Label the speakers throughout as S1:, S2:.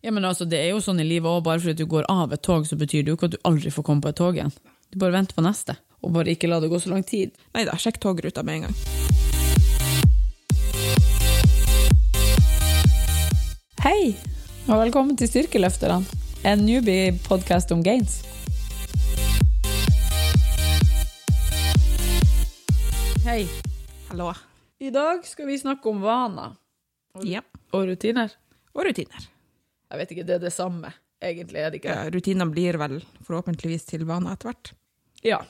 S1: Ja, men altså, Det er jo sånn i livet òg. Bare fordi du går av et tog, så betyr det jo ikke at du aldri får komme på et tog igjen. Du bare venter på neste, og bare ikke la det gå så lang tid.
S2: Nei da, sjekk togruta med en gang.
S1: Hei, og velkommen til Styrkeløfterne. En newbie-podkast om gains. Hei.
S2: Hallo.
S1: I dag skal vi snakke om vaner
S2: Ja.
S1: og rutiner.
S2: Og rutiner.
S1: Jeg vet ikke, det er det samme. Egentlig er det ikke det.
S2: Ja, rutinene blir vel forhåpentligvis til vaner etter hvert.
S1: Ja.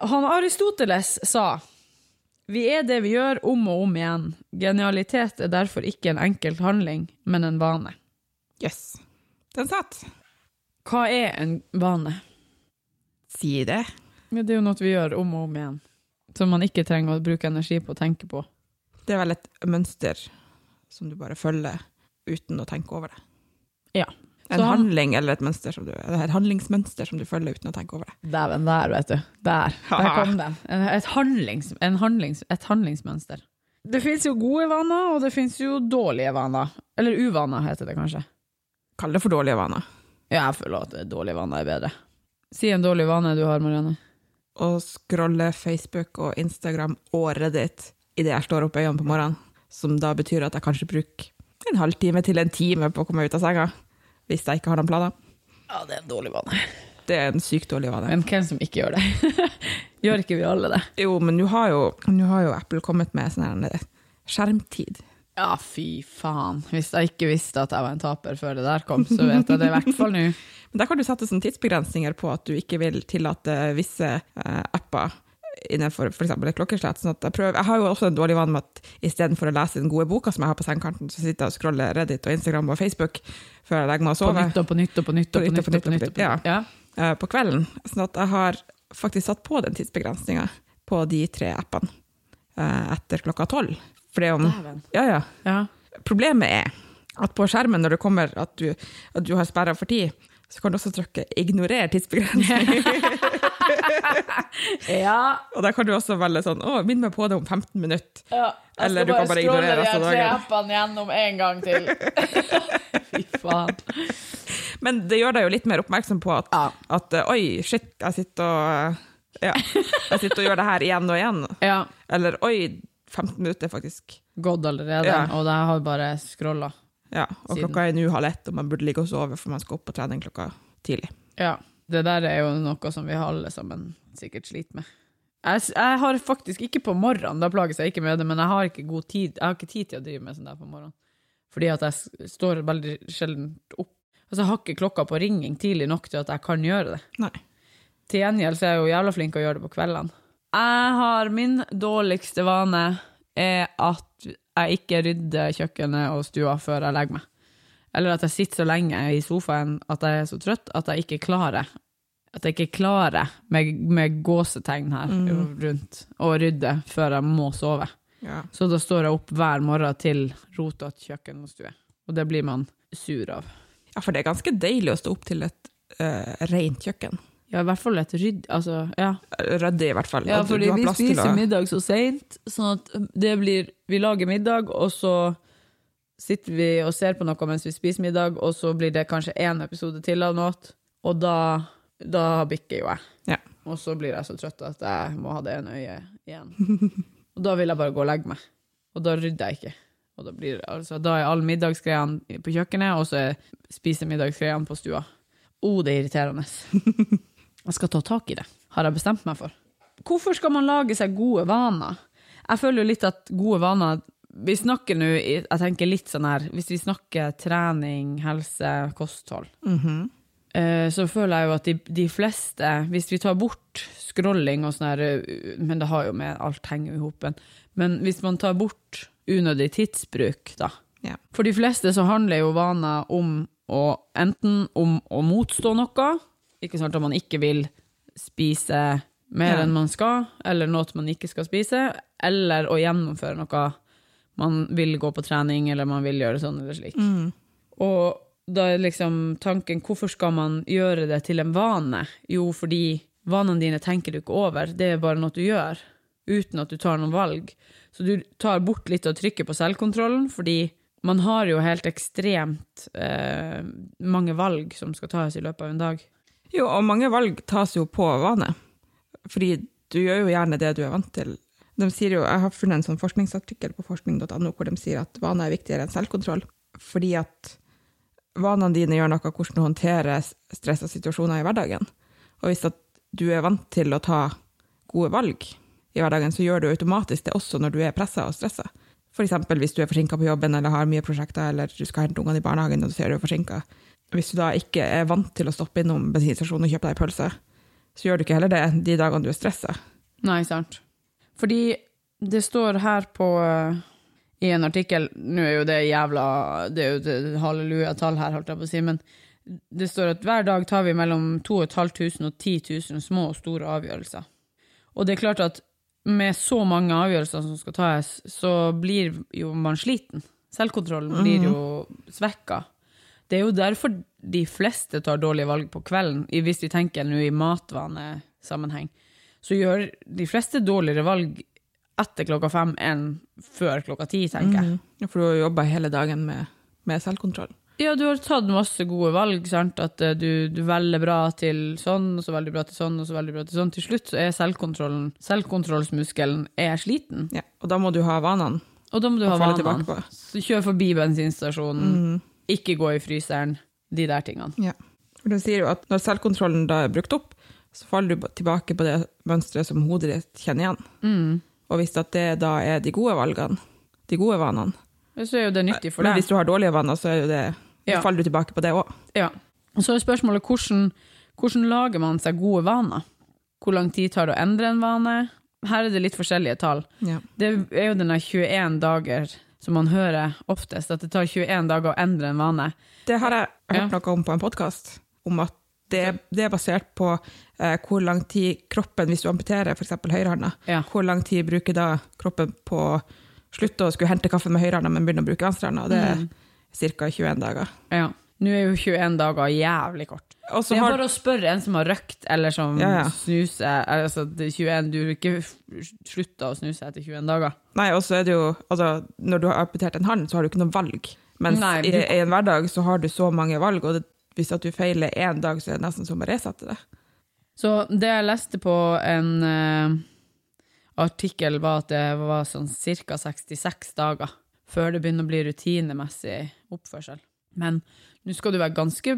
S1: Han Aristoteles sa Vi er det vi gjør om og om igjen. Genialitet er derfor ikke en enkelt handling, men en vane.
S2: Jøss. Yes. Den satt.
S1: Hva er en vane?
S2: Si det.
S1: Ja, det er jo noe vi gjør om og om igjen. Som man ikke trenger å bruke energi på å tenke på.
S2: Det er vel et mønster som du bare følger uten å tenke over det.
S1: Ja.
S2: En
S1: Så han-
S2: handling eller et, mønster som du, eller et handlingsmønster som du følger uten å tenke over det.
S1: Dæven, der, vet du. Der. Der kom den. En- Et, handlings, en handlings, et handlingsmønster. Det fins jo gode vaner, og det fins jo dårlige vaner. Eller uvaner, heter det kanskje.
S2: Kall det for dårlige vaner.
S1: Ja, jeg føler at dårlige vaner er bedre. Si en dårlig vane du har, Marianne.
S2: Å scrolle Facebook og Instagram og Reddit idet jeg står opp øynene på morgenen, som da betyr at jeg kanskje bruker en halvtime til en time på å komme ut av senga, hvis jeg ikke har noen planer.
S1: Ja, det er en dårlig vane.
S2: Det er en sykt dårlig vane.
S1: Men hvem som ikke gjør det? gjør ikke vi alle det?
S2: Jo, men nå har jo, nå har jo Apple kommet med sånn her skjermtid.
S1: Ja, fy faen. Hvis jeg ikke visste at jeg var en taper før det der kom, så vet jeg det i hvert fall nå.
S2: Men der kan du sette sånne tidsbegrensninger på at du ikke vil tillate visse eh, apper innenfor f.eks. et klokkeslett. Sånn at jeg, prøver, jeg har jo også en dårlig vane med at istedenfor å lese den gode boka som jeg har på sengekanten, så sitter jeg og scroller Reddit og Instagram og Facebook før jeg legger meg og
S1: På
S2: sover
S1: nytt og på nytt og på nytt og på nytt. og på nytt, og på nytt. Ja.
S2: eh, på kvelden. Sånn at jeg har faktisk satt på den tidsbegrensninga på de tre appene eh, etter klokka tolv. For det om
S1: Dæven.
S2: Ja, ja.
S1: Ja.
S2: Problemet er at på skjermen når det kommer at du, at du har sperra for tid, så kan du også trykke 'ignorer tidsbegrensning'.
S1: ja.
S2: og da kan du også velge sånn 'å, minn meg på det om 15 minutter'.
S1: Ja, jeg skal
S2: Eller du
S1: bare
S2: kan bare
S1: scrolle de
S2: ignorere
S1: her
S2: resten av
S1: tre
S2: dagen.
S1: appene gjennom en gang til. Fy faen.
S2: Men det gjør deg jo litt mer oppmerksom på at,
S1: Ja.
S2: at eh, 'oi, shit, jeg sitter og ja, jeg sitter og gjør det her igjen og igjen'.
S1: Ja,
S2: Eller 'oi, 15 minutter, faktisk'.
S1: gått allerede,
S2: Ja.
S1: og jeg har bare scrolla.
S2: Ja, og
S1: Siden.
S2: klokka er nå halv ett, og man burde ligge og sove, for man skal opp og trene klokka tidlig.
S1: Ja, det der er jo noe som vi alle sammen sikkert sliter med. Jeg, s- jeg har faktisk ikke på morgenen, da plages jeg ikke med det, men jeg har ikke god tid, jeg har ikke tid til å drive med sånn der på morgenen. Fordi at jeg s- står veldig sjelden opp. Altså, jeg har ikke klokka på ringing tidlig nok til at jeg kan gjøre det.
S2: Nei.
S1: Til gjengjeld så er jeg jo jævla flink til å gjøre det på kveldene. Jeg har min dårligste vane er at jeg ikke rydder kjøkkenet og stua før jeg legger meg. Eller at jeg sitter så lenge i sofaen at jeg er så trøtt at jeg ikke klarer at jeg ikke klarer, med, med gåsetegn her rundt, å rydde før jeg må sove.
S2: Ja.
S1: Så da står jeg opp hver morgen til rotete kjøkken og stue. Og det blir man sur av.
S2: ja, for det er ganske deilig å stå opp til et uh, rent kjøkken.
S1: Ja, i hvert fall et rydd... Altså, ja.
S2: Ryddig, i hvert fall.
S1: Ja,
S2: Og du-
S1: fordi
S2: du har
S1: vi
S2: plass til
S1: spiser
S2: å-
S1: middag så seint, sånn at det blir Vi lager middag, og så sitter vi og ser på noe mens vi spiser middag, og så blir det kanskje én episode til av noe, og da, da bikker jo jeg.
S2: Ja.
S1: Og så blir jeg så trøtt at jeg må ha det ene øyet igjen. Og da vil jeg bare gå og legge meg. Og da rydder jeg ikke. Og da, blir, altså, da er all middagsgreiene på kjøkkenet, og så er spisemiddagsgreiene på stua. Å, det er irriterende. Jeg skal ta tak i det, har jeg bestemt meg for. Hvorfor skal man lage seg gode vaner? Jeg føler jo litt at gode vaner Vi snakker nå, i- jeg tenker litt sånn her Hvis vi snakker trening, helse, kosthold,
S2: Mhm.
S1: eh, så føler jeg jo at de, de fleste Hvis vi tar bort scrolling og sånn her eh, Men det har jo med alt henger jo i hopen. Men hvis man tar bort unødig tidsbruk, da.
S2: Ja.
S1: For de fleste så handler jo vaner om å enten om å motstå noe, ikke sant at man ikke vil spise mer
S2: Ja.
S1: enn man skal, eller noe man ikke skal spise, eller å gjennomføre noe man vil gå på trening, eller man vil gjøre sånn eller slik. Og da er liksom tanken, hvorfor skal man gjøre det til en vane? Jo, fordi vanene dine tenker du ikke over, det er bare noe du gjør, uten at du tar noen valg. Så du tar bort litt av trykket på selvkontrollen, fordi Man har jo helt ekstremt eh, mange valg som skal tas i løpet av en dag.
S2: Jo, og mange valg tas jo på vane. Fordi du gjør jo gjerne det du er vant til. De sier jo, Jeg har funnet en sånn forskningsartikkel på forskning.no hvor de sier at vaner er viktigere enn selvkontroll. Fordi at vanene dine gjør noe av hvordan du håndterer stressa situasjoner i hverdagen. Og hvis at du er vant til å ta gode valg i hverdagen, så gjør du automatisk det også når du er pressa og stressa. F.eks. hvis du er forsinka på jobben eller har mye prosjekter eller du skal hente ungene i barnehagen og du ser du er forsinka. Hvis du da ikke er vant til å stoppe innom bensinstasjonen og kjøpe deg pølse, så gjør du ikke heller det de dagene du er stressa.
S1: Nei, sant. Fordi det står her på eh, I en artikkel Nå er jo det jævla Det er jo et hallelujatall her, holdt jeg på å si, men det står at hver dag tar vi mellom 2500 og 10 000 små og store avgjørelser. Og det er klart at med så mange avgjørelser som skal tas, så blir jo man sliten. Selvkontrollen blir jo svekka. Det er jo derfor de fleste tar dårlige valg på kvelden, i- hvis vi tenker nå i matvanesammenheng. Så gjør de fleste dårligere valg etter klokka fem enn før klokka ti, tenker jeg.
S2: For du har jobba hele dagen med, med selvkontroll.
S1: Ja, du har tatt masse gode valg, sant? At eh, du, du velger bra til sånn, og så veldig bra til sånn, og så veldig bra til sånn. Til slutt så er selvkontrollen, selvkontrollsmuskelen er sliten,
S2: Ja, og da må du ha vanene
S1: og da må du
S2: å
S1: ha
S2: falle tilbake
S1: vanene.
S2: på.
S1: Så Kjør forbi bensinstasjonen, ikke gå i fryseren, de der tingene.
S2: Ja. For de sier jo at når selvkontrollen da er brukt opp, så faller du tilbake på det mønsteret som hodet ditt kjenner igjen. Og hvis at det da er de gode valgene, de gode vanene
S1: Så er jo det nyttig for
S2: Men
S1: deg.
S2: hvis du har dårlige vaner, så er jo det,
S1: Ja.
S2: faller du tilbake på det òg.
S1: Ja. Og så er spørsmålet hvordan, hvordan lager man seg gode vaner? Hvor lang tid tar det å endre en vane? Her er det litt forskjellige tall.
S2: Ja.
S1: Det er jo denne 21 dager som man hører oftest, at det tar 21 dager å endre en vane.
S2: Det har jeg hørt
S1: Ja.
S2: noe om på en podkast, om at det, det er basert på eh, hvor lang tid kroppen, hvis du amputerer f.eks. høyrehånda,
S1: Ja.
S2: hvor lang tid bruker da kroppen på å slutte å skulle hente kaffe med høyrehånda, men begynne å bruke venstrehånda. og Det er
S1: Mm.
S2: ca. 21 dager.
S1: Ja. Nå er jo 21 dager jævlig kort.
S2: Og så
S1: det er
S2: har,
S1: bare å spørre en som har røkt, eller som
S2: Ja, ja.
S1: snuser. Altså, det er 21, du vil ikke f- slutte å snuse etter 21 dager.
S2: nei, og så er det jo altså, Når du har amputert en hånd, så har du ikke noe valg. Mens
S1: Nei,
S2: i,
S1: du-
S2: i en hverdag så har du så mange valg, og det, hvis at du feiler én dag, så er det nesten som å resette det.
S1: Så det jeg leste på en eh, artikkel, var at det var sånn ca. 66 dager før det begynner å bli rutinemessig oppførsel. Men nå skal du være ganske,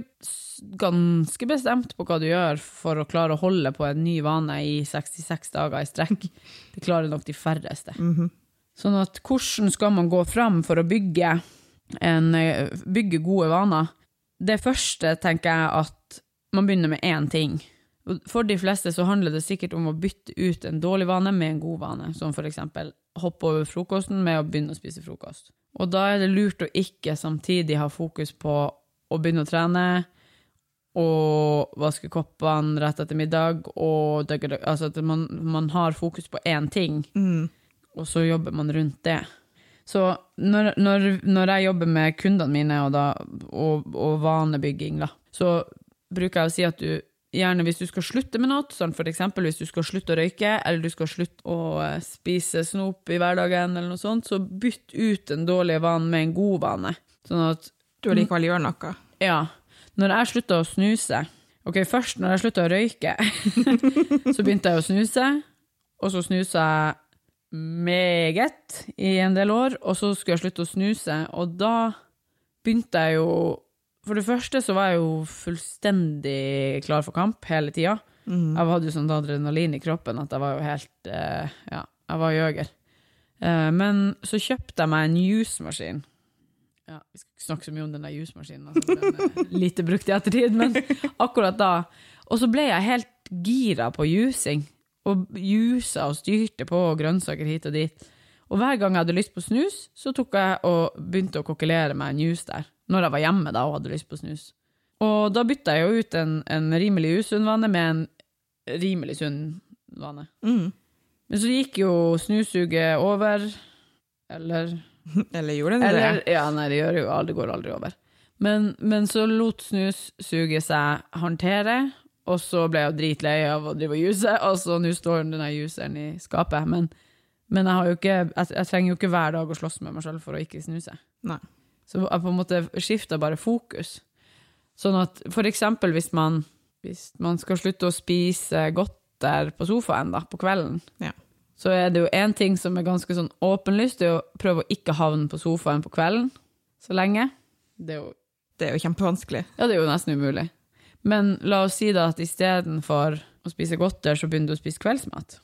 S1: ganske bestemt på hva du gjør for å klare å holde på en ny vane i 66 dager i strekk. Det klarer nok de færreste. Sånn at hvordan skal man gå fram for å bygge, en, eh, bygge gode vaner? Det første tenker jeg at man begynner med én ting. Og For de fleste så handler det sikkert om å bytte ut en dårlig vane med en god vane, som for eksempel hoppe over frokosten med å begynne å spise frokost. Og da er det lurt å ikke samtidig ha fokus på å begynne å trene, og vaske koppene rett etter middag, og altså at man, man har fokus på én ting og så jobber man rundt det. Så når, når, når jeg jobber med kundene mine og, da, og, og vanebygging, da, så bruker jeg å si at du gjerne hvis du skal slutte med noe, sånn for eksempel hvis du skal slutte å røyke, eller du skal slutte å eh, spise snop i hverdagen, eller noe sånt, så bytt ut den dårlige vanen med en god vane. Sånn at
S2: Du allikevel gjør noe.
S1: ja. Når jeg slutta å snuse Ok, først når jeg slutta å røyke, så begynte jeg å snuse. Og så snusa jeg meget i en del år, og så skulle jeg slutte å snuse. Og da begynte jeg jo For det første så var jeg jo fullstendig klar for kamp hele tida. Jeg hadde jo sånt adrenalin i kroppen at jeg var jo helt eh, Ja, jeg var jøger. Eh, men så kjøpte jeg meg en jusmaskin. Ja, vi skal ikke snakke så mye om den der jusmaskinen. Altså, den er lite brukt i ettertid, men akkurat da. Og så ble jeg helt gira på jusing. Og jusa og styrte på og grønnsaker hit og dit. Og hver gang jeg hadde lyst på snus, så tok jeg og begynte å kokkelere meg en jus der. Når jeg var hjemme da og hadde lyst på snus. Og da bytta jeg jo ut en, en rimelig usunn vane med en rimelig sunn vane. Men så gikk jo snusuget over, eller
S2: Eller gjorde den det?
S1: eller, ja, nei, det gjør jo aldri, det går aldri over. Men, men så lot snussuget seg håndtere, og så ble jeg jo dritlei av å drive og juse, og så nå står denne juseren i skapet. Men, men jeg, har jo ikke, jeg, jeg trenger jo ikke hver dag å slåss med meg sjøl for å ikke snuse.
S2: Nei.
S1: Så jeg på en måte skifter bare fokus. Sånn at for eksempel hvis man, hvis man skal slutte å spise godt der på sofaen da, på kvelden,
S2: Ja.
S1: så er det jo én ting som er ganske sånn åpenlyst, det er å prøve å ikke havne på sofaen på kvelden så lenge. Det er jo
S2: Det er jo kjempevanskelig.
S1: ja, det er jo nesten umulig. Men la oss si da at istedenfor å spise godter, så begynner du å spise kveldsmat.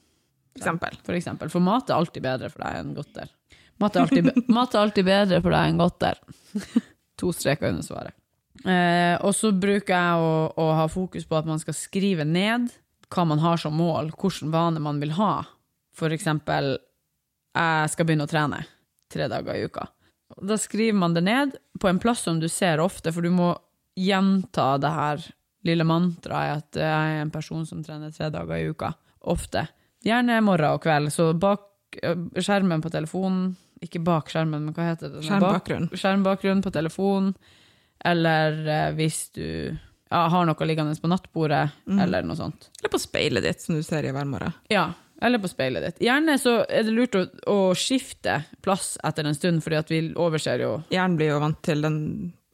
S2: For eksempel.
S1: For eksempel. For mat er alltid bedre for deg enn godter. Mat er alltid, be mat er alltid bedre for deg enn godter. to streker under svaret. Eh, og så bruker jeg å, å ha fokus på at man skal skrive ned hva man har som mål, hvilken vane man vil ha. For eksempel, jeg skal begynne å trene tre dager i uka. Da skriver man det ned på en plass som du ser ofte, for du må gjenta det her lille mantraet at jeg er en person som trener tre dager i uka. Ofte. Gjerne morgen og kveld, så bak eh, skjermen på telefonen Ikke bak skjermen, men hva heter det? Bak-
S2: Skjermbakgrunn.
S1: skjermbakgrunn på telefon, eller eh, hvis du ja, har noe liggende på nattbordet,
S2: Mm.
S1: eller noe sånt.
S2: Eller på speilet ditt, som du ser i hver morgen.
S1: Ja, eller på speilet ditt. Gjerne så er det lurt å, å skifte plass etter en stund, fordi at vi overser jo
S2: Hjernen blir jo vant til, den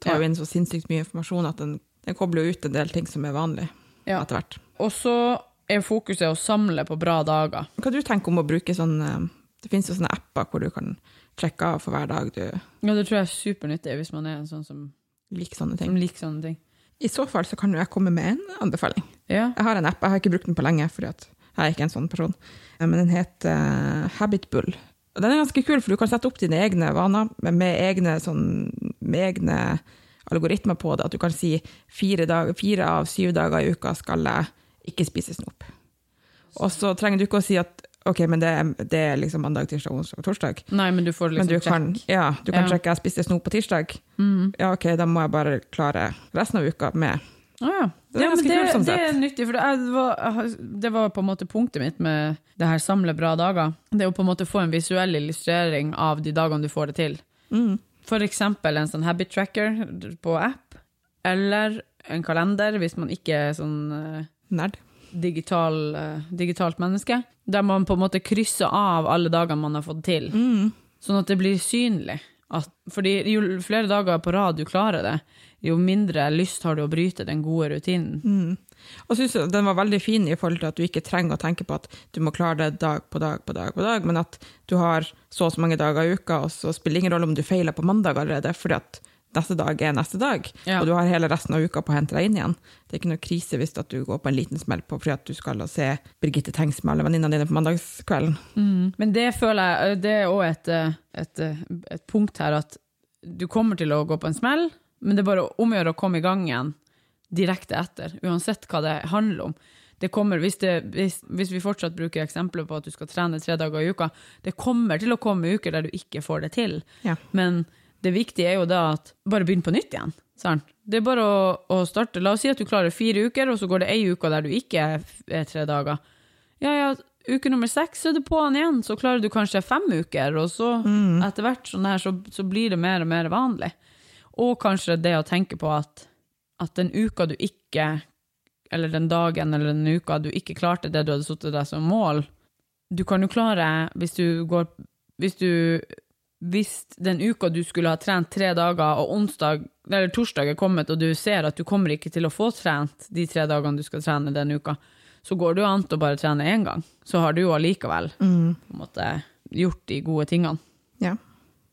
S2: tar
S1: Ja.
S2: jo inn så sinnssykt mye informasjon at den, den kobler jo ut en del ting som er vanlig
S1: Ja.
S2: etter hvert.
S1: Og så er fokuset å samle på bra dager.
S2: Hva du tenker om å bruke sånn eh, Det finnes jo sånne apper hvor du kan sjekke av for hver dag du
S1: Ja, det tror jeg er supernyttig hvis man er en sånn som,
S2: liker sånne ting.
S1: som liker sånne ting.
S2: I så fall så kan jo jeg komme med en anbefaling.
S1: Ja.
S2: Jeg har en app, jeg har ikke brukt den på lenge, fordi at jeg er ikke en sånn person. Eh, Men den heter eh, Habitbull. Og den er ganske kul, for du kan sette opp dine egne vaner med, med, egne, sånn, med egne algoritmer på det. At du kan si fire, dag, fire av syv dager i uka skal jeg ikke spise snop. Og så trenger du ikke å si at ok, men det, er- det er liksom mandag, tirsdag, onsdag og torsdag.
S1: Nei, men du får liksom
S2: Men
S1: Mhm.
S2: du kan, ja, du kan
S1: Ja.
S2: sjekke jeg spiste snop på tirsdag. Ja, ok, da må jeg bare klare resten av uka med
S1: Ah, ja.
S2: Det er
S1: ja, men
S2: ganske
S1: det,
S2: kult
S1: det
S2: sånn sett.
S1: er nyttig, for det, er, det, var, det var på en måte punktet mitt med det her samle bra dager. Det er jo på en måte å få en visuell illustrering av de dagene du får det til.
S2: mm.
S1: For eksempel en sånn habit tracker på app, eller en kalender hvis man ikke er sånn eh,
S2: nerd.
S1: digital, eh, digitalt menneske, der man på en måte krysser av alle dagene man har fått til.
S2: Mm.
S1: Sånn at det blir synlig. At, fordi jo flere dager på rad du klarer det, jo mindre lyst har du å bryte den gode rutinen.
S2: Og synes jeg den var veldig fin i forhold til at du ikke trenger å tenke på at du må klare det dag på dag på dag på dag, men at du har så og så mange dager i uka, og så spiller det ingen rolle om du feiler på mandag allerede, fordi at neste dag er neste dag,
S1: Ja.
S2: og du har hele resten av uka på å hente deg inn igjen. Det er ikke noe krise hvis at du går på en liten smell på fordi at du skal se Birgitte Tengs med alle venninnene dine på mandagskvelden.
S1: Men det føler jeg, det er òg et, eh, et, eh, et punkt her at du kommer til å gå på en smell, men det er bare å omgjøre å komme i gang igjen direkte etter, uansett hva det handler om. Det kommer, hvis, det, hvis, hvis vi fortsatt bruker eksempler på at du skal trene tre dager i uka, det kommer til å komme uker der du ikke får det til.
S2: Ja.
S1: Men det viktige er jo da at bare begynn på nytt igjen. Sant? Det er bare å, å starte. La oss si at du klarer fire uker, og så går det ei uke der du ikke er f- er tre dager. Ja, ja, uke nummer seks så er det på'n igjen. Så klarer du kanskje fem uker, og så
S2: Mm.
S1: etter hvert sånn her, så, så blir det mer og mer vanlig. Og kanskje det å tenke på at, at den uka du ikke Eller den dagen eller den uka du ikke klarte det du hadde satt deg som mål Du kan jo klare, hvis du går Hvis du hvis den uka du skulle ha trent tre dager, og onsdag, eller torsdag er kommet, og du ser at du kommer ikke til å få trent de tre dagene du skal trene den uka, så går det jo an til å bare trene én gang. Så har du jo allikevel på en måte, gjort de gode tingene.
S2: Ja.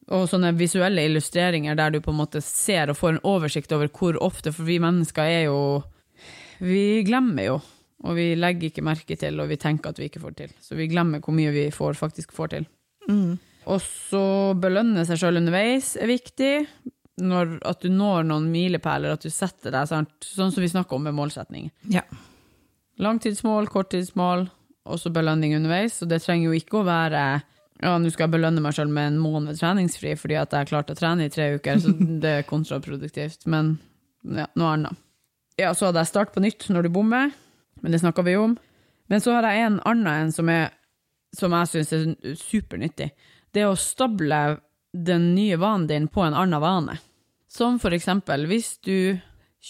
S1: Og sånne visuelle illustreringer der du på en måte ser og får en oversikt over hvor ofte, for vi mennesker er jo Vi glemmer jo, og vi legger ikke merke til, og vi tenker at vi ikke får til. Så vi glemmer hvor mye vi får, faktisk får til. Og så belønne seg sjøl underveis er viktig. Når, at du når noen milepæler, at du setter deg sant? sånn som vi snakker om med målsetning.
S2: Ja.
S1: Langtidsmål, korttidsmål, og så belønning underveis. Så det trenger jo ikke å være ja, nå skal jeg belønne meg sjøl med en måned treningsfri fordi at jeg har klart å trene i tre uker, så det er kontraproduktivt. Men ja, noe annet. Ja, så hadde jeg start på nytt når du bommer, men det snakka vi jo om. Men så har jeg en annen en som, er, som jeg syns er supernyttig. Det er å stable den nye vanen din på en annen vane. Som for eksempel hvis du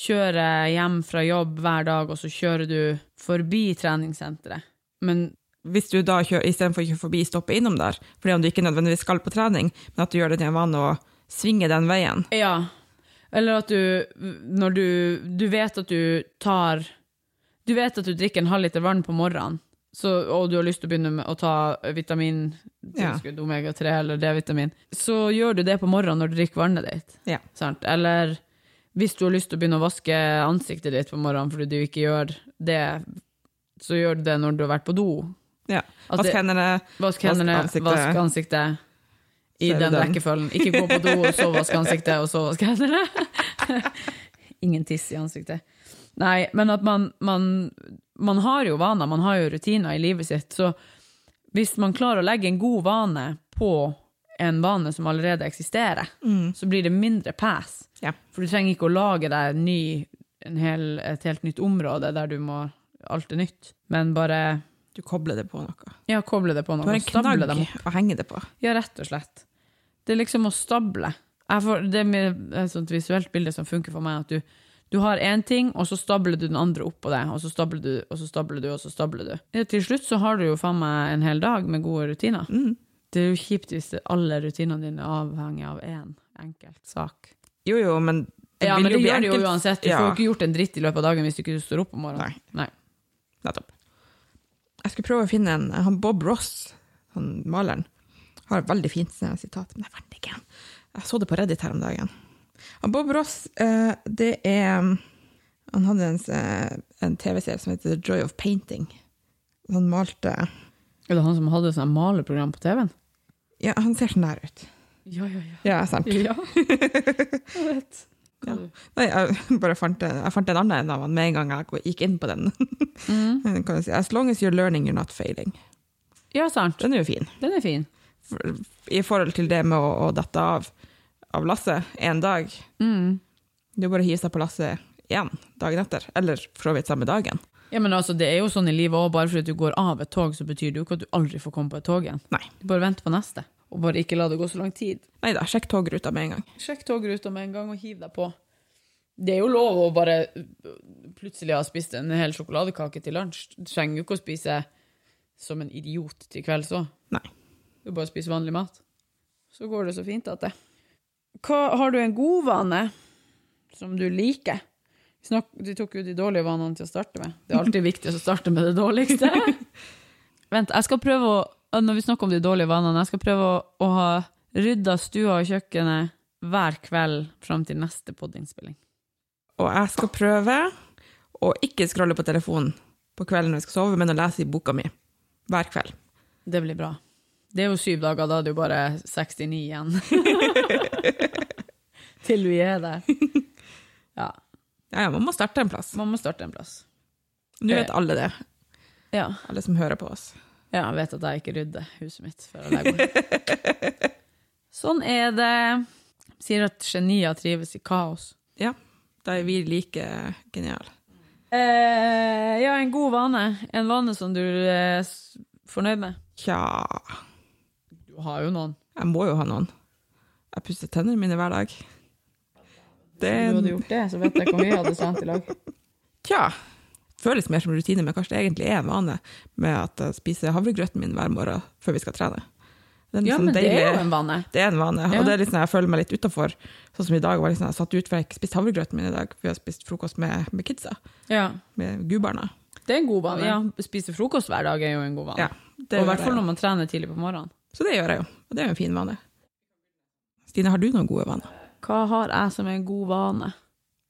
S1: kjører hjem fra jobb hver dag, og så kjører du forbi treningssenteret. Men
S2: Hvis du da kjører, istedenfor å kjøre forbi, stopper innom der, fordi om du ikke nødvendigvis skal på trening, men at du gjør det til en vane å svinge den veien.
S1: Ja. Eller at du, når du Du vet at du tar Du vet at du drikker en halv liter vann på morgenen, så, og du har lyst til å begynne med å ta vitamintilskudd, omega-3 eller D-vitamin, så gjør du det på morgenen når du drikker vannet ditt.
S2: Ja.
S1: Sant? Eller hvis du har lyst til å begynne å vaske ansiktet ditt på morgenen fordi du ikke gjør det, så gjør du det når du har vært på do.
S2: Ja.
S1: At
S2: Vask
S1: det-
S2: hendene.
S1: Vask hendene,
S2: Vask ansiktet.
S1: vask ansiktet. I
S2: Så er det
S1: den
S2: den.
S1: rekkefølgen. Ikke gå på do, og så vask ansiktet, og så vask hendene. Ingen tiss i ansiktet. Nei, men at man, man, man har jo vaner, man har jo rutiner i livet sitt, så hvis man klarer å legge en god vane på en vane som allerede eksisterer,
S2: Mm.
S1: så blir det mindre pass.
S2: Ja.
S1: For du trenger ikke å lage deg en ny, en hel, et helt nytt område der du må Alt er nytt. Men bare
S2: Du kobler det på noe.
S1: ja, koble det på
S2: Du
S1: noe.
S2: har en
S1: og stable det
S2: knagg å henge det på.
S1: ja, rett og slett. Det er liksom å stable. Jeg får, det er med- et sånt visuelt bilde som funker for meg, at du, du har én ting, og så stabler du den andre oppå det, og så stabler du, og så stabler du, og så stabler du. Ja, til slutt så har du jo faen meg en hel dag med gode rutiner.
S2: Mm.
S1: Det er jo kjipt hvis det- alle rutinene dine er avhengig av én enkelt sak.
S2: Jo, jo, men det
S1: ja,
S2: vil
S1: men det
S2: bli
S1: gjør det jo
S2: enkelt.
S1: uansett. Du
S2: ja.
S1: får jo ikke gjort en dritt i løpet av dagen hvis du ikke står opp om morgenen.
S2: Nei.
S1: Nei.
S2: Nettopp. Jeg skulle prøve å finne en han Bob Ross, han maleren, har et veldig fint sånn sitat. Men jeg fant det ikke. Jeg så det på Reddit her om dagen. Han Bob Ross, eh, det er Han hadde en, eh, en TV-serie som heter The Joy of Painting. Han malte
S1: Er det han som hadde sånn maleprogram på TV-en?
S2: Ja, han ser sånn der ut.
S1: Ja, ja, ja.
S2: Ja, sant.
S1: Ja, jeg vet.
S2: Ja. Nei, jeg bare fant, jeg fant en annen en av han med en gang jeg gikk inn på den.
S1: Mm.
S2: Den kan jeg si, As long as you're learning, you're not failing.
S1: ja, sant.
S2: Den er jo fin.
S1: Den er fin.
S2: For, I forhold til det med å, å dette av, av lasset en dag.
S1: Mm.
S2: Det er bare å hive seg på lasset igjen dagen etter. Eller for så vidt samme dagen.
S1: Ja, men altså, Det er jo sånn i livet òg. Bare fordi du går av et tog, så betyr det jo ikke at du aldri får komme på et tog igjen.
S2: Nei.
S1: Du bare venter på neste, og bare ikke la det gå så lang tid.
S2: Nei da, sjekk togruta med en gang.
S1: Sjekk togruta med en gang og hiv deg på. Det er jo lov å bare øh, plutselig ha spist en hel sjokoladekake til lunsj. Du trenger jo ikke å spise som en idiot til kvelds òg.
S2: Nei.
S1: Du bare spiser vanlig mat. Så går det så fint at det. Hva, har du en god vane som du liker? Vi Snakk, du tok jo de dårlige vanene til å starte med. Det er alltid viktig å starte med det dårligste. Vent, jeg skal prøve å, når vi snakker om de dårlige vanene, jeg skal prøve å, å ha rydda stua og kjøkkenet hver kveld fram til neste poddingspilling.
S2: Og jeg skal prøve å ikke scrolle på telefonen på kvelden når jeg skal sove, men å lese i boka mi hver kveld.
S1: Det blir bra. Det er jo syv dager, da er det jo bare 69 igjen. til vi er der. Ja,
S2: Ja, ja, man må starte en plass.
S1: man må starte en plass.
S2: Nå vet alle det,
S1: Ja.
S2: alle som hører på oss.
S1: Ja, jeg vet at jeg ikke rydder huset mitt før jeg legger meg. sånn er det. Sier at genier trives i kaos.
S2: Ja, da er vi like geniale.
S1: Eh, ja, en god vane. En vane som du er s- fornøyd med.
S2: Tja,
S1: Du har jo noen.
S2: jeg må jo ha noen. Jeg pusser tennene mine hver dag. Det er en-
S1: gjort det, så vet jeg hvor vi hadde trent i lag.
S2: Tja. Føles mer som rutine, men kanskje det egentlig er en vane med at jeg spiser havregrøten min hver morgen før vi skal trene. Det er en
S1: Ja,
S2: sånn
S1: men det er
S2: deilig-
S1: jo en vane.
S2: det er en vane,
S1: Ja.
S2: og det er litt sånn jeg føler meg litt utafor. Sånn som i dag var jeg litt sånn, jeg satt ut, for jeg har ikke spist havregrøten min i dag. Vi har spist frokost med, med kidsa,
S1: Ja,
S2: med gubbarna.
S1: det er en god vane. Ja, Spise frokost hver dag er jo en god vane.
S2: Ja, det
S1: Og i
S2: gjør
S1: hvert
S2: jeg
S1: fall
S2: jo.
S1: når man trener tidlig på morgenen.
S2: Så det gjør jeg jo, og det er jo en fin vane. Stine, har du noen gode vaner?
S1: Hva har jeg som er en god vane?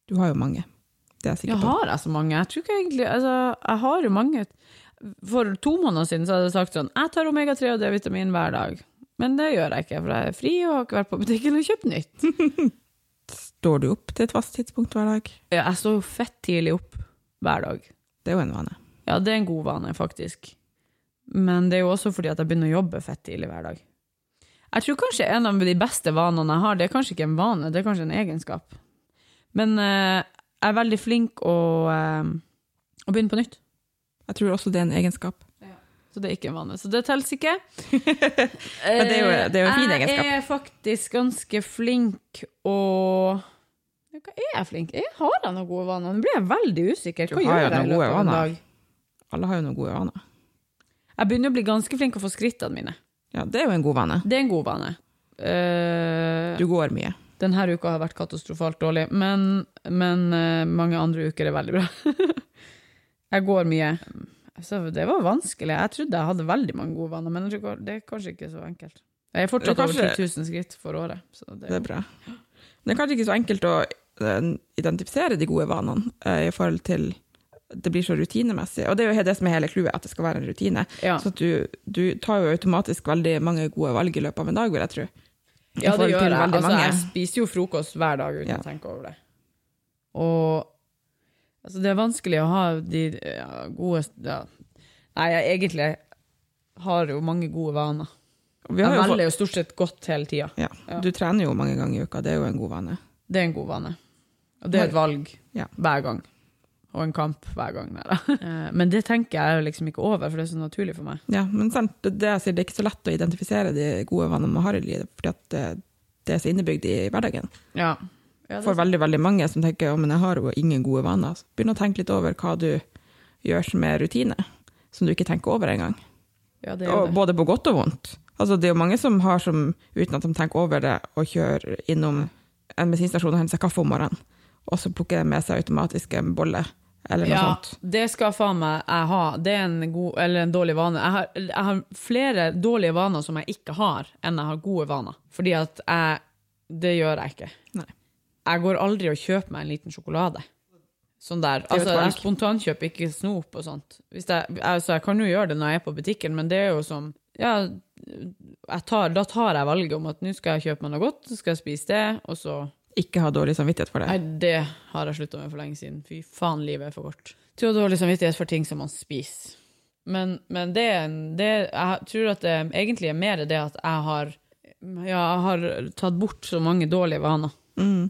S2: Du har jo mange. Det er jeg sikker
S1: Ja,
S2: på.
S1: har jeg så mange? Jeg tror ikke egentlig altså, Jeg har jo mange. For to måneder siden så hadde jeg sagt sånn Jeg tar omega-3 og D-vitamin hver dag. Men det gjør jeg ikke, for jeg er fri og har ikke vært på butikken og kjøpt nytt.
S2: Står du opp til et fast tidspunkt hver dag?
S1: Ja, Jeg står jo fett tidlig opp hver dag.
S2: Det er jo en vane.
S1: Ja, det er en god vane, faktisk. Men det er jo også fordi at jeg begynner å jobbe fett tidlig hver dag. Jeg tror kanskje en av de beste vanene jeg har, det er kanskje ikke en vane, det er kanskje en egenskap. Men eh, jeg er veldig flink å, eh, å begynne på nytt.
S2: Jeg tror også det er en egenskap.
S1: Så det er ikke en vane. Så det telles ikke. Eh,
S2: Men det er jo- det er jo en fin egenskap.
S1: Jeg er faktisk ganske flink å Hva er jeg flink? Jeg har jeg noen gode vaner? Nå blir jeg veldig usikker. Hva
S2: Du har
S1: gjør
S2: jo
S1: jeg i
S2: noen gode
S1: løpet av en
S2: vaner.
S1: dag?
S2: Alle har jo noen gode vaner.
S1: Jeg begynner å bli ganske flink å få skrittene mine.
S2: Ja, det er jo en god vane.
S1: Det er en god vane. Eh,
S2: Du går mye.
S1: denne uka har vært katastrofalt dårlig, men, men eh, mange andre uker er veldig bra. jeg går mye. Altså, det var vanskelig. Jeg trodde jeg hadde veldig mange gode vaner, men jeg tror ikke- det er kanskje ikke så enkelt. Jeg er fortsatt
S2: Det er kanskje-
S1: over 10 000 skritt for året. Så det,
S2: Det er bra. Det er kanskje ikke så enkelt å eh, identifisere de gode vanene eh, i forhold til det blir så rutinemessig. Og det er jo he- det som er hele clouet, at det skal være en rutine.
S1: ja.
S2: Så at du, du tar jo automatisk veldig mange gode valg i løpet av en dag, vil jeg tro. I
S1: Ja, det
S2: forhold
S1: gjør
S2: til
S1: jeg.
S2: veldig
S1: Altså,
S2: mange.
S1: jeg spiser jo frokost hver dag uten
S2: Ja.
S1: å tenke over det. Og altså, det er vanskelig å ha de ja, gode ja. Nei, jeg egentlig har jo mange gode vaner.
S2: Og Vi har
S1: Jeg
S2: jo fått,
S1: velger jo stort sett godt hele tida.
S2: ja,
S1: Ja.
S2: du trener jo mange ganger i uka, det er jo en god vane.
S1: Det er en god vane. Og det er et valg
S2: Ja.
S1: hver gang. Og en kamp hver gang. Nei, da. Eh, Men det tenker jeg jo liksom ikke over, for det er så naturlig for meg.
S2: Ja, men sant, det, det, jeg sier, det er ikke så lett å identifisere de gode vanene man har i livet, fordi at det, det er så innebygd i hverdagen.
S1: Ja. Ja, det-
S2: For veldig, veldig mange som tenker at men jeg har jo ingen gode vaner. Så Begynn å tenke litt over hva du gjør som er rutine, som du ikke tenker over engang.
S1: ja, det er jo
S2: Og
S1: det.
S2: Både på godt og vondt. Altså, det er jo mange som har som, uten at de tenker over det, å kjøre innom en bensinstasjon og hente seg kaffe om morgenen, og så plukker de med seg automatisk en bolle eller noe
S1: Ja,
S2: sånt.
S1: det skal faen meg jeg ha. Det er en god eller en dårlig vane. Jeg har, jeg har flere dårlige vaner som jeg ikke har, enn jeg har gode vaner. Fordi at jeg Det gjør jeg ikke.
S2: Nei.
S1: Jeg går aldri og kjøper meg en liten sjokolade. Sånn der.
S2: er jo et
S1: Altså, jeg
S2: valg.
S1: spontankjøper ikke snop og sånt. Hvis jeg, altså, jeg kan jo gjøre det når jeg er på butikken, men det er jo som Ja, jeg tar, da tar jeg valget om at nå skal jeg kjøpe meg noe godt, så skal jeg spise det, og så
S2: Ikke ha dårlig samvittighet for det.
S1: Nei, det har jeg slutta med for lenge siden. Fy faen, livet er for kort. Du har dårlig samvittighet for ting som man spiser. Men, men det, er en- det Jeg tror at det egentlig er mer det at jeg har ja, jeg har tatt bort så mange dårlige vaner.
S2: Mm.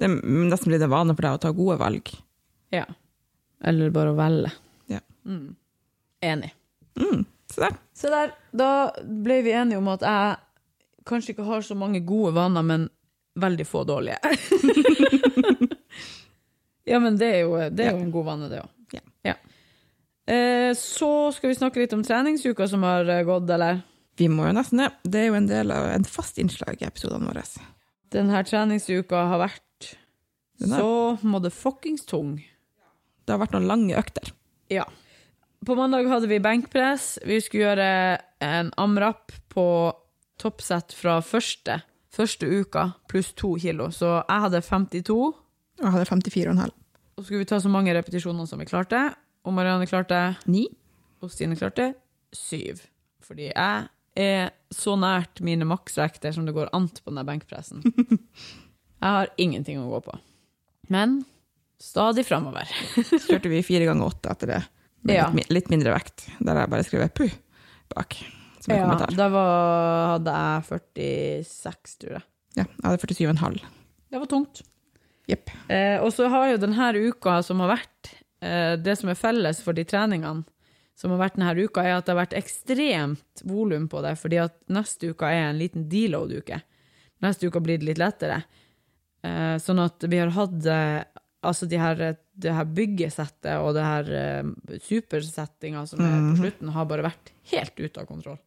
S2: Det er nesten blitt en vane for deg å ta gode valg.
S1: Ja. Eller bare å velge.
S2: Ja.
S1: Mm. Enig.
S2: Mm. Så der.
S1: Så der, da ble vi enige om at jeg kanskje ikke har så mange gode vaner, men veldig få dårlige. ja, men det er jo, det er jo en god vane, det òg.
S2: Ja.
S1: Eh, så skal vi snakke litt om treningsuka som har eh, gått, eller?
S2: Vi må jo nesten det. Det er jo en del av en fast innslag i episodene våre.
S1: Denne treningsuka har vært
S2: Den er-
S1: så motherfuckings tung.
S2: Det har vært noen lange økter.
S1: Ja. På mandag hadde vi benkpress. Vi skulle gjøre en amrap på toppsett fra første, første uka, pluss to kilo. Så jeg hadde 52, og
S2: Og jeg hadde 54,5.
S1: så skulle vi ta så mange repetisjoner som vi klarte. Og Marianne klarte,
S2: Ni?
S1: og Stine klarte, syv. Fordi jeg er så nært mine maksvekter som det går an på denne benkpressen. Jeg har ingenting å gå på. Men stadig framover.
S2: Så kjørte vi fire ganger åtte etter det. Med
S1: Ja.
S2: litt, mi- litt mindre vekt. Der jeg bare skrev 'puh' bak. Som en
S1: Ja,
S2: kommentar.
S1: da var, hadde jeg 46, tror jeg.
S2: Ja, jeg hadde 47,5.
S1: Det var tungt.
S2: Jepp.
S1: Eh, og så har jo denne uka som har vært, eh, det som er felles for de treningene som har vært denne uka, er at det har vært ekstremt volum på det, fordi at neste uka er en liten deload-uke. Neste uka blir det litt lettere. Eh, sånn at vi har hatt eh, altså de her, eh, det her byggesettet og det her eh, supersettinga som er på slutten, har bare vært helt ute av kontroll.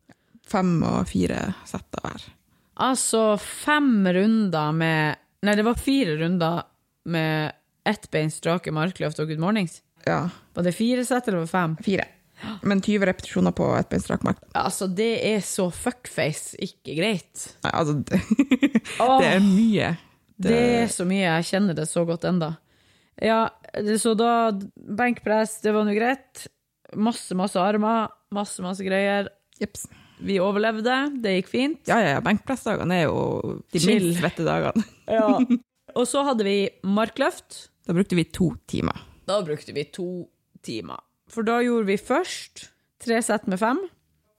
S2: Fem og fire setter hver.
S1: Altså fem runder med Nei, det var fire runder med ettbeins strake markløft og good mornings.
S2: Ja,
S1: Var det fire sett, eller var det fem?
S2: fire. Men 20 repetisjoner på ett bein strak mark.
S1: Altså, det er så fuckface ikke greit.
S2: Nei, altså det,
S1: Åh,
S2: det er mye.
S1: det... er så mye. Jeg kjenner det så godt enda. Ja, det- så da Benkpress, det var nå greit. Masse, masse armer. Masse, masse greier.
S2: Jeps.
S1: Vi overlevde. Det gikk fint.
S2: Ja, ja, ja. Benkpressdagene er jo de
S1: Chill.
S2: minst svette dagene.
S1: Ja. Og så hadde vi markløft.
S2: Da brukte vi to timer.
S1: Da brukte vi to timer. For da gjorde vi først tre sett med fem.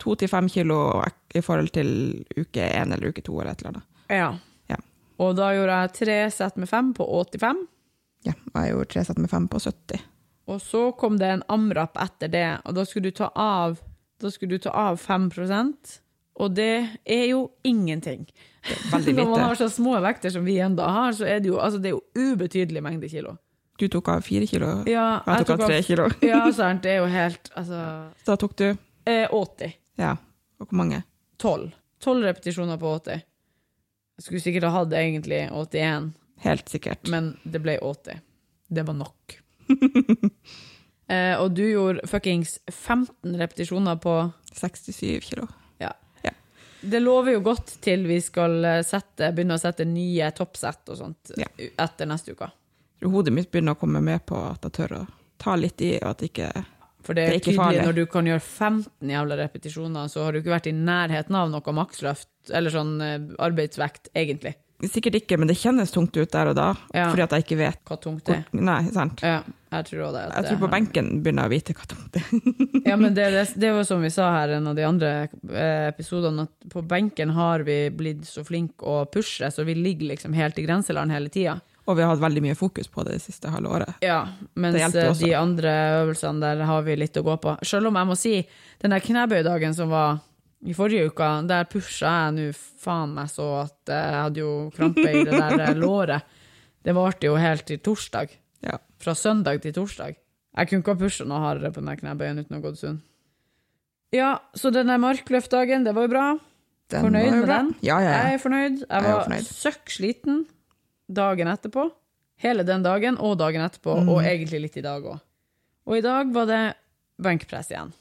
S2: To til fem kilo i forhold til uke én eller uke to eller et eller annet.
S1: Ja.
S2: Ja.
S1: Og da gjorde jeg tre sett med fem på 85.
S2: Ja, og jeg gjorde tre sett med fem på 70.
S1: Og så kom det en amrap etter det, og da skulle du ta av, da skulle du ta av 5 og det er jo ingenting.
S2: veldig
S1: Når man
S2: lite.
S1: har så små vekter som vi enda har, så er det jo, altså det er jo ubetydelig mengde kilo.
S2: Du tok av fire kilo,
S1: Ja,
S2: og jeg tok av tre kilo.
S1: Ja, sant, det er jo helt, altså...
S2: Så da tok du
S1: Eh, 80.
S2: Ja, og hvor mange?
S1: 12. 12 repetisjoner på 80. Jeg skulle sikkert ha hatt egentlig 81,
S2: Helt sikkert.
S1: men det ble 80. Det var nok. eh, og du gjorde fuckings 15 repetisjoner på
S2: 67 kilo.
S1: Det lover jo godt til vi skal eh, sette, begynne å sette nye toppsett og sånt
S2: Ja.
S1: u- etter neste uke.
S2: Jeg tror Hodet mitt begynner å komme med på at jeg tør å ta litt i, og at jeg ikke
S1: For det er,
S2: Det er ikke
S1: tydelig
S2: farlig.
S1: når du kan gjøre 15 jævla repetisjoner, så har du ikke vært i nærheten av noe maksløft, eller sånn eh, arbeidsvekt, egentlig.
S2: Sikkert ikke, men det kjennes tungt ut der og da,
S1: Ja.
S2: fordi at jeg ikke vet
S1: Hva tungt det
S2: hvor
S1: er.
S2: Nei, sant.
S1: Ja, jeg tror også det. at
S2: Jeg tror
S1: det-
S2: på benken begynner jeg å vite hva tungt det er.
S1: Ja, men det, det, det var som vi sa her i en av de andre eh, episodene, at på benken har vi blitt så flinke å pushe, så vi ligger liksom helt i grenseland hele tida.
S2: Og vi har hatt veldig mye fokus på det det siste halve året.
S1: Ja,
S2: Det
S1: mens
S2: hjelper
S1: eh,
S2: også.
S1: de andre øvelsene der har vi litt å gå på. Selv om jeg må si, den der knebøydagen som var i forrige uke, der pusha jeg nå faen meg så at eh, jeg hadde jo krampe i det der eh, låret. Det varte jo helt til torsdag.
S2: Ja.
S1: Fra søndag til torsdag. Jeg kunne ikke ha pusha noe hardere på den der knebøyen uten å ha gått sund. Ja, så den der markløftdagen, det var jo bra.
S2: Den
S1: Fornøyd
S2: var jo
S1: med
S2: bra.
S1: den?
S2: Ja, ja, ja.
S1: Jeg er fornøyd. Jeg
S2: Jeg er
S1: var
S2: fornøyd.
S1: søkk sliten dagen etterpå. Hele den dagen og dagen etterpå,
S2: Mm.
S1: og egentlig litt i dag òg. Og i dag var det benkpress igjen.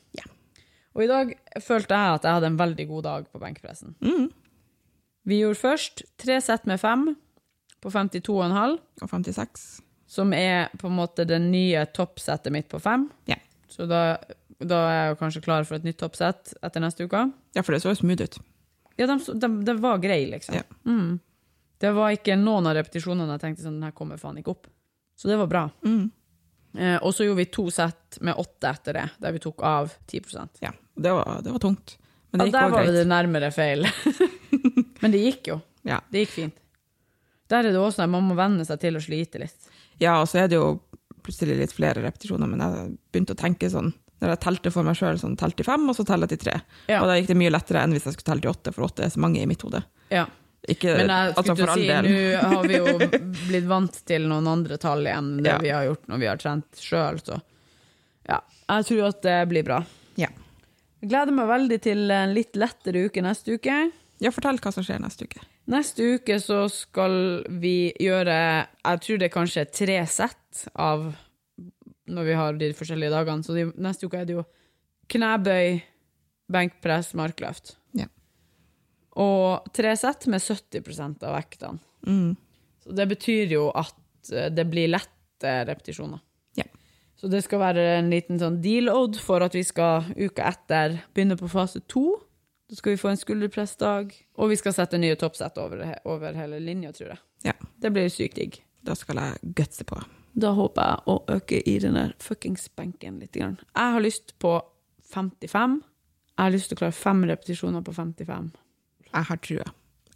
S1: Og i dag følte jeg at jeg hadde en veldig god dag på benkpressen.
S2: Mm.
S1: Vi gjorde først tre sett med fem på 52,5,
S2: Og 56.
S1: som er på en måte det nye toppsettet mitt på fem.
S2: Ja.
S1: Så da, da er jeg jo kanskje klar for et nytt toppsett etter neste uke.
S2: Ja, for det så jo smooth ut.
S1: Ja, de, de, de var greie, liksom.
S2: Ja.
S1: Mm. Det var ikke noen av repetisjonene jeg tenkte sånn, den her kommer faen ikke opp. Så det var bra.
S2: Mm.
S1: Eh, og så gjorde vi to sett med åtte etter det, der vi tok av 10
S2: Ja, det var, det var tungt. Men
S1: Ja,
S2: det gikk
S1: der
S2: også
S1: var
S2: greit.
S1: det nærmere feil. Men det gikk jo.
S2: Ja.
S1: Det gikk fint. Der er det også sånn at man må venne seg til å slite litt.
S2: Ja, og så er det jo plutselig litt flere repetisjoner, men jeg begynte å tenke sånn, når jeg telte for meg selv, sånn telt til fem, og så telte jeg til tre.
S1: Ja.
S2: Og da gikk det mye lettere enn hvis jeg skulle telle til åtte, for åtte er så mange i mitt hode.
S1: Ja.
S2: Ikke,
S1: Men jeg
S2: altså
S1: skulle til
S2: for
S1: å
S2: all
S1: si,
S2: del.
S1: nå har vi jo blitt vant til noen andre tall igjen enn det
S2: Ja.
S1: vi har gjort når vi har trent sjøl, så ja. Jeg tror at det blir bra.
S2: Ja.
S1: Jeg gleder meg veldig til en litt lettere uke neste uke.
S2: ja, fortell hva som skjer neste uke.
S1: Neste uke så skal vi gjøre Jeg tror det er kanskje tre sett av når vi har de forskjellige dagene. Så de, neste uke er det jo knebøy, benkpress, markløft.
S2: Ja.
S1: Og tre sett med 70 av vektene.
S2: Mm.
S1: Så det betyr jo at eh, det blir lette repetisjoner.
S2: Ja.
S1: Så det skal være en liten sånn deal-odd for at vi skal uka etter begynne på fase to. Da skal vi få en skulderpressdag, og vi skal sette nye toppsett over, he- over hele linja, tror jeg.
S2: Ja.
S1: Det blir sykt digg.
S2: Da skal jeg gutse på.
S1: Da håper jeg å øke i den der fuckings benken litt. Grann. Jeg har lyst på 55. Jeg har lyst til å klare fem repetisjoner på 55.
S2: Jeg har trua.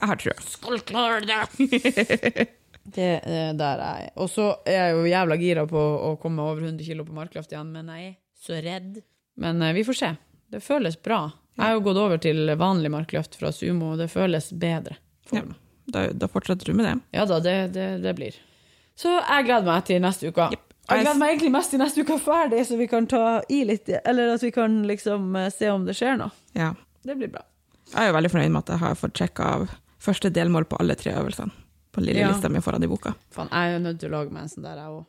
S2: Jeg har trua.
S1: skal klare det! det er der jeg er. Og så er jeg jo jævla gira på å komme over 100 kilo på markløft igjen, men jeg er så redd. Men eh, vi får se. Det føles bra. Jeg har jo gått over til vanlig markløft fra sumo, og det føles bedre.
S2: Ja. Da, da fortsetter du med det.
S1: Ja da, det, det, det blir. Så jeg gleder meg til neste uke.
S2: Jepp.
S1: Jeg gleder meg egentlig mest til neste uke er ferdig, så vi kan ta i litt, eller at vi kan liksom eh, se om det skjer noe.
S2: Ja.
S1: Det blir bra.
S2: Jeg er jo veldig fornøyd med at jeg har fått sjekka av første delmål på alle tre øvelsene på lille
S1: Ja.
S2: lista mi foran i boka.
S1: Faen, jeg er jo nødt til å lage meg en sånn der, jeg òg.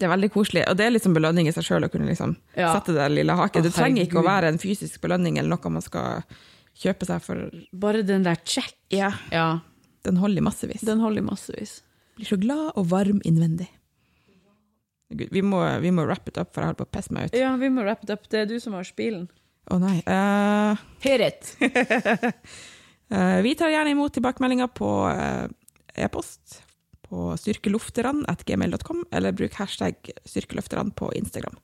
S2: Det er veldig koselig, og det er liksom belønning i seg sjøl å kunne liksom
S1: Ja.
S2: sette det lille haket.
S1: Å,
S2: Det trenger ikke å
S1: herregud.
S2: være en fysisk belønning eller noe man skal kjøpe seg for.
S1: Bare den der check.
S2: Ja.
S1: Ja,
S2: Den holder i massevis.
S1: den holder i massevis.
S2: Blir så glad og varm innvendig. Gud, vi, må, vi må wrap it up, for jeg holder på å pisse meg ut. Å
S1: Ja, vi må wrap it up. Det er du som har spilen.
S2: nei. Eh,
S1: Hit it!
S2: eh, vi tar gjerne imot tilbakemeldinger på eh, e-post på styrkelofteran.gmail.com, eller bruk hashtag styrkelofteran på Instagram.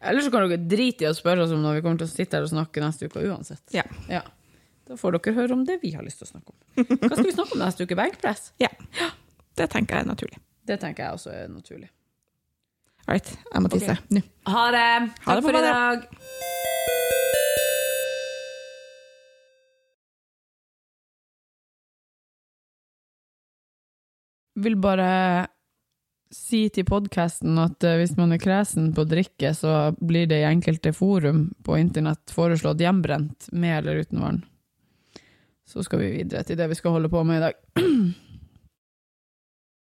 S1: Eller så kan dere drite i å spørre oss om når vi kommer til å sitte her og snakke neste uke uansett.
S2: Ja.
S1: Ja. Da får dere høre om det vi har lyst til å snakke om. Hva skal vi snakke om neste uke? Benkpress?
S2: ja. Det tenker jeg er naturlig.
S1: Det tenker jeg også er naturlig.
S2: All right, jeg må tisse. Nå.
S1: Ha det!
S2: Takk for i
S1: dag! Vil bare si til podkasten at eh, hvis man er kresen på drikke, så blir det i enkelte forum på internett foreslått hjemmebrent med eller uten vann. Så skal vi videre til det vi skal holde på med i dag.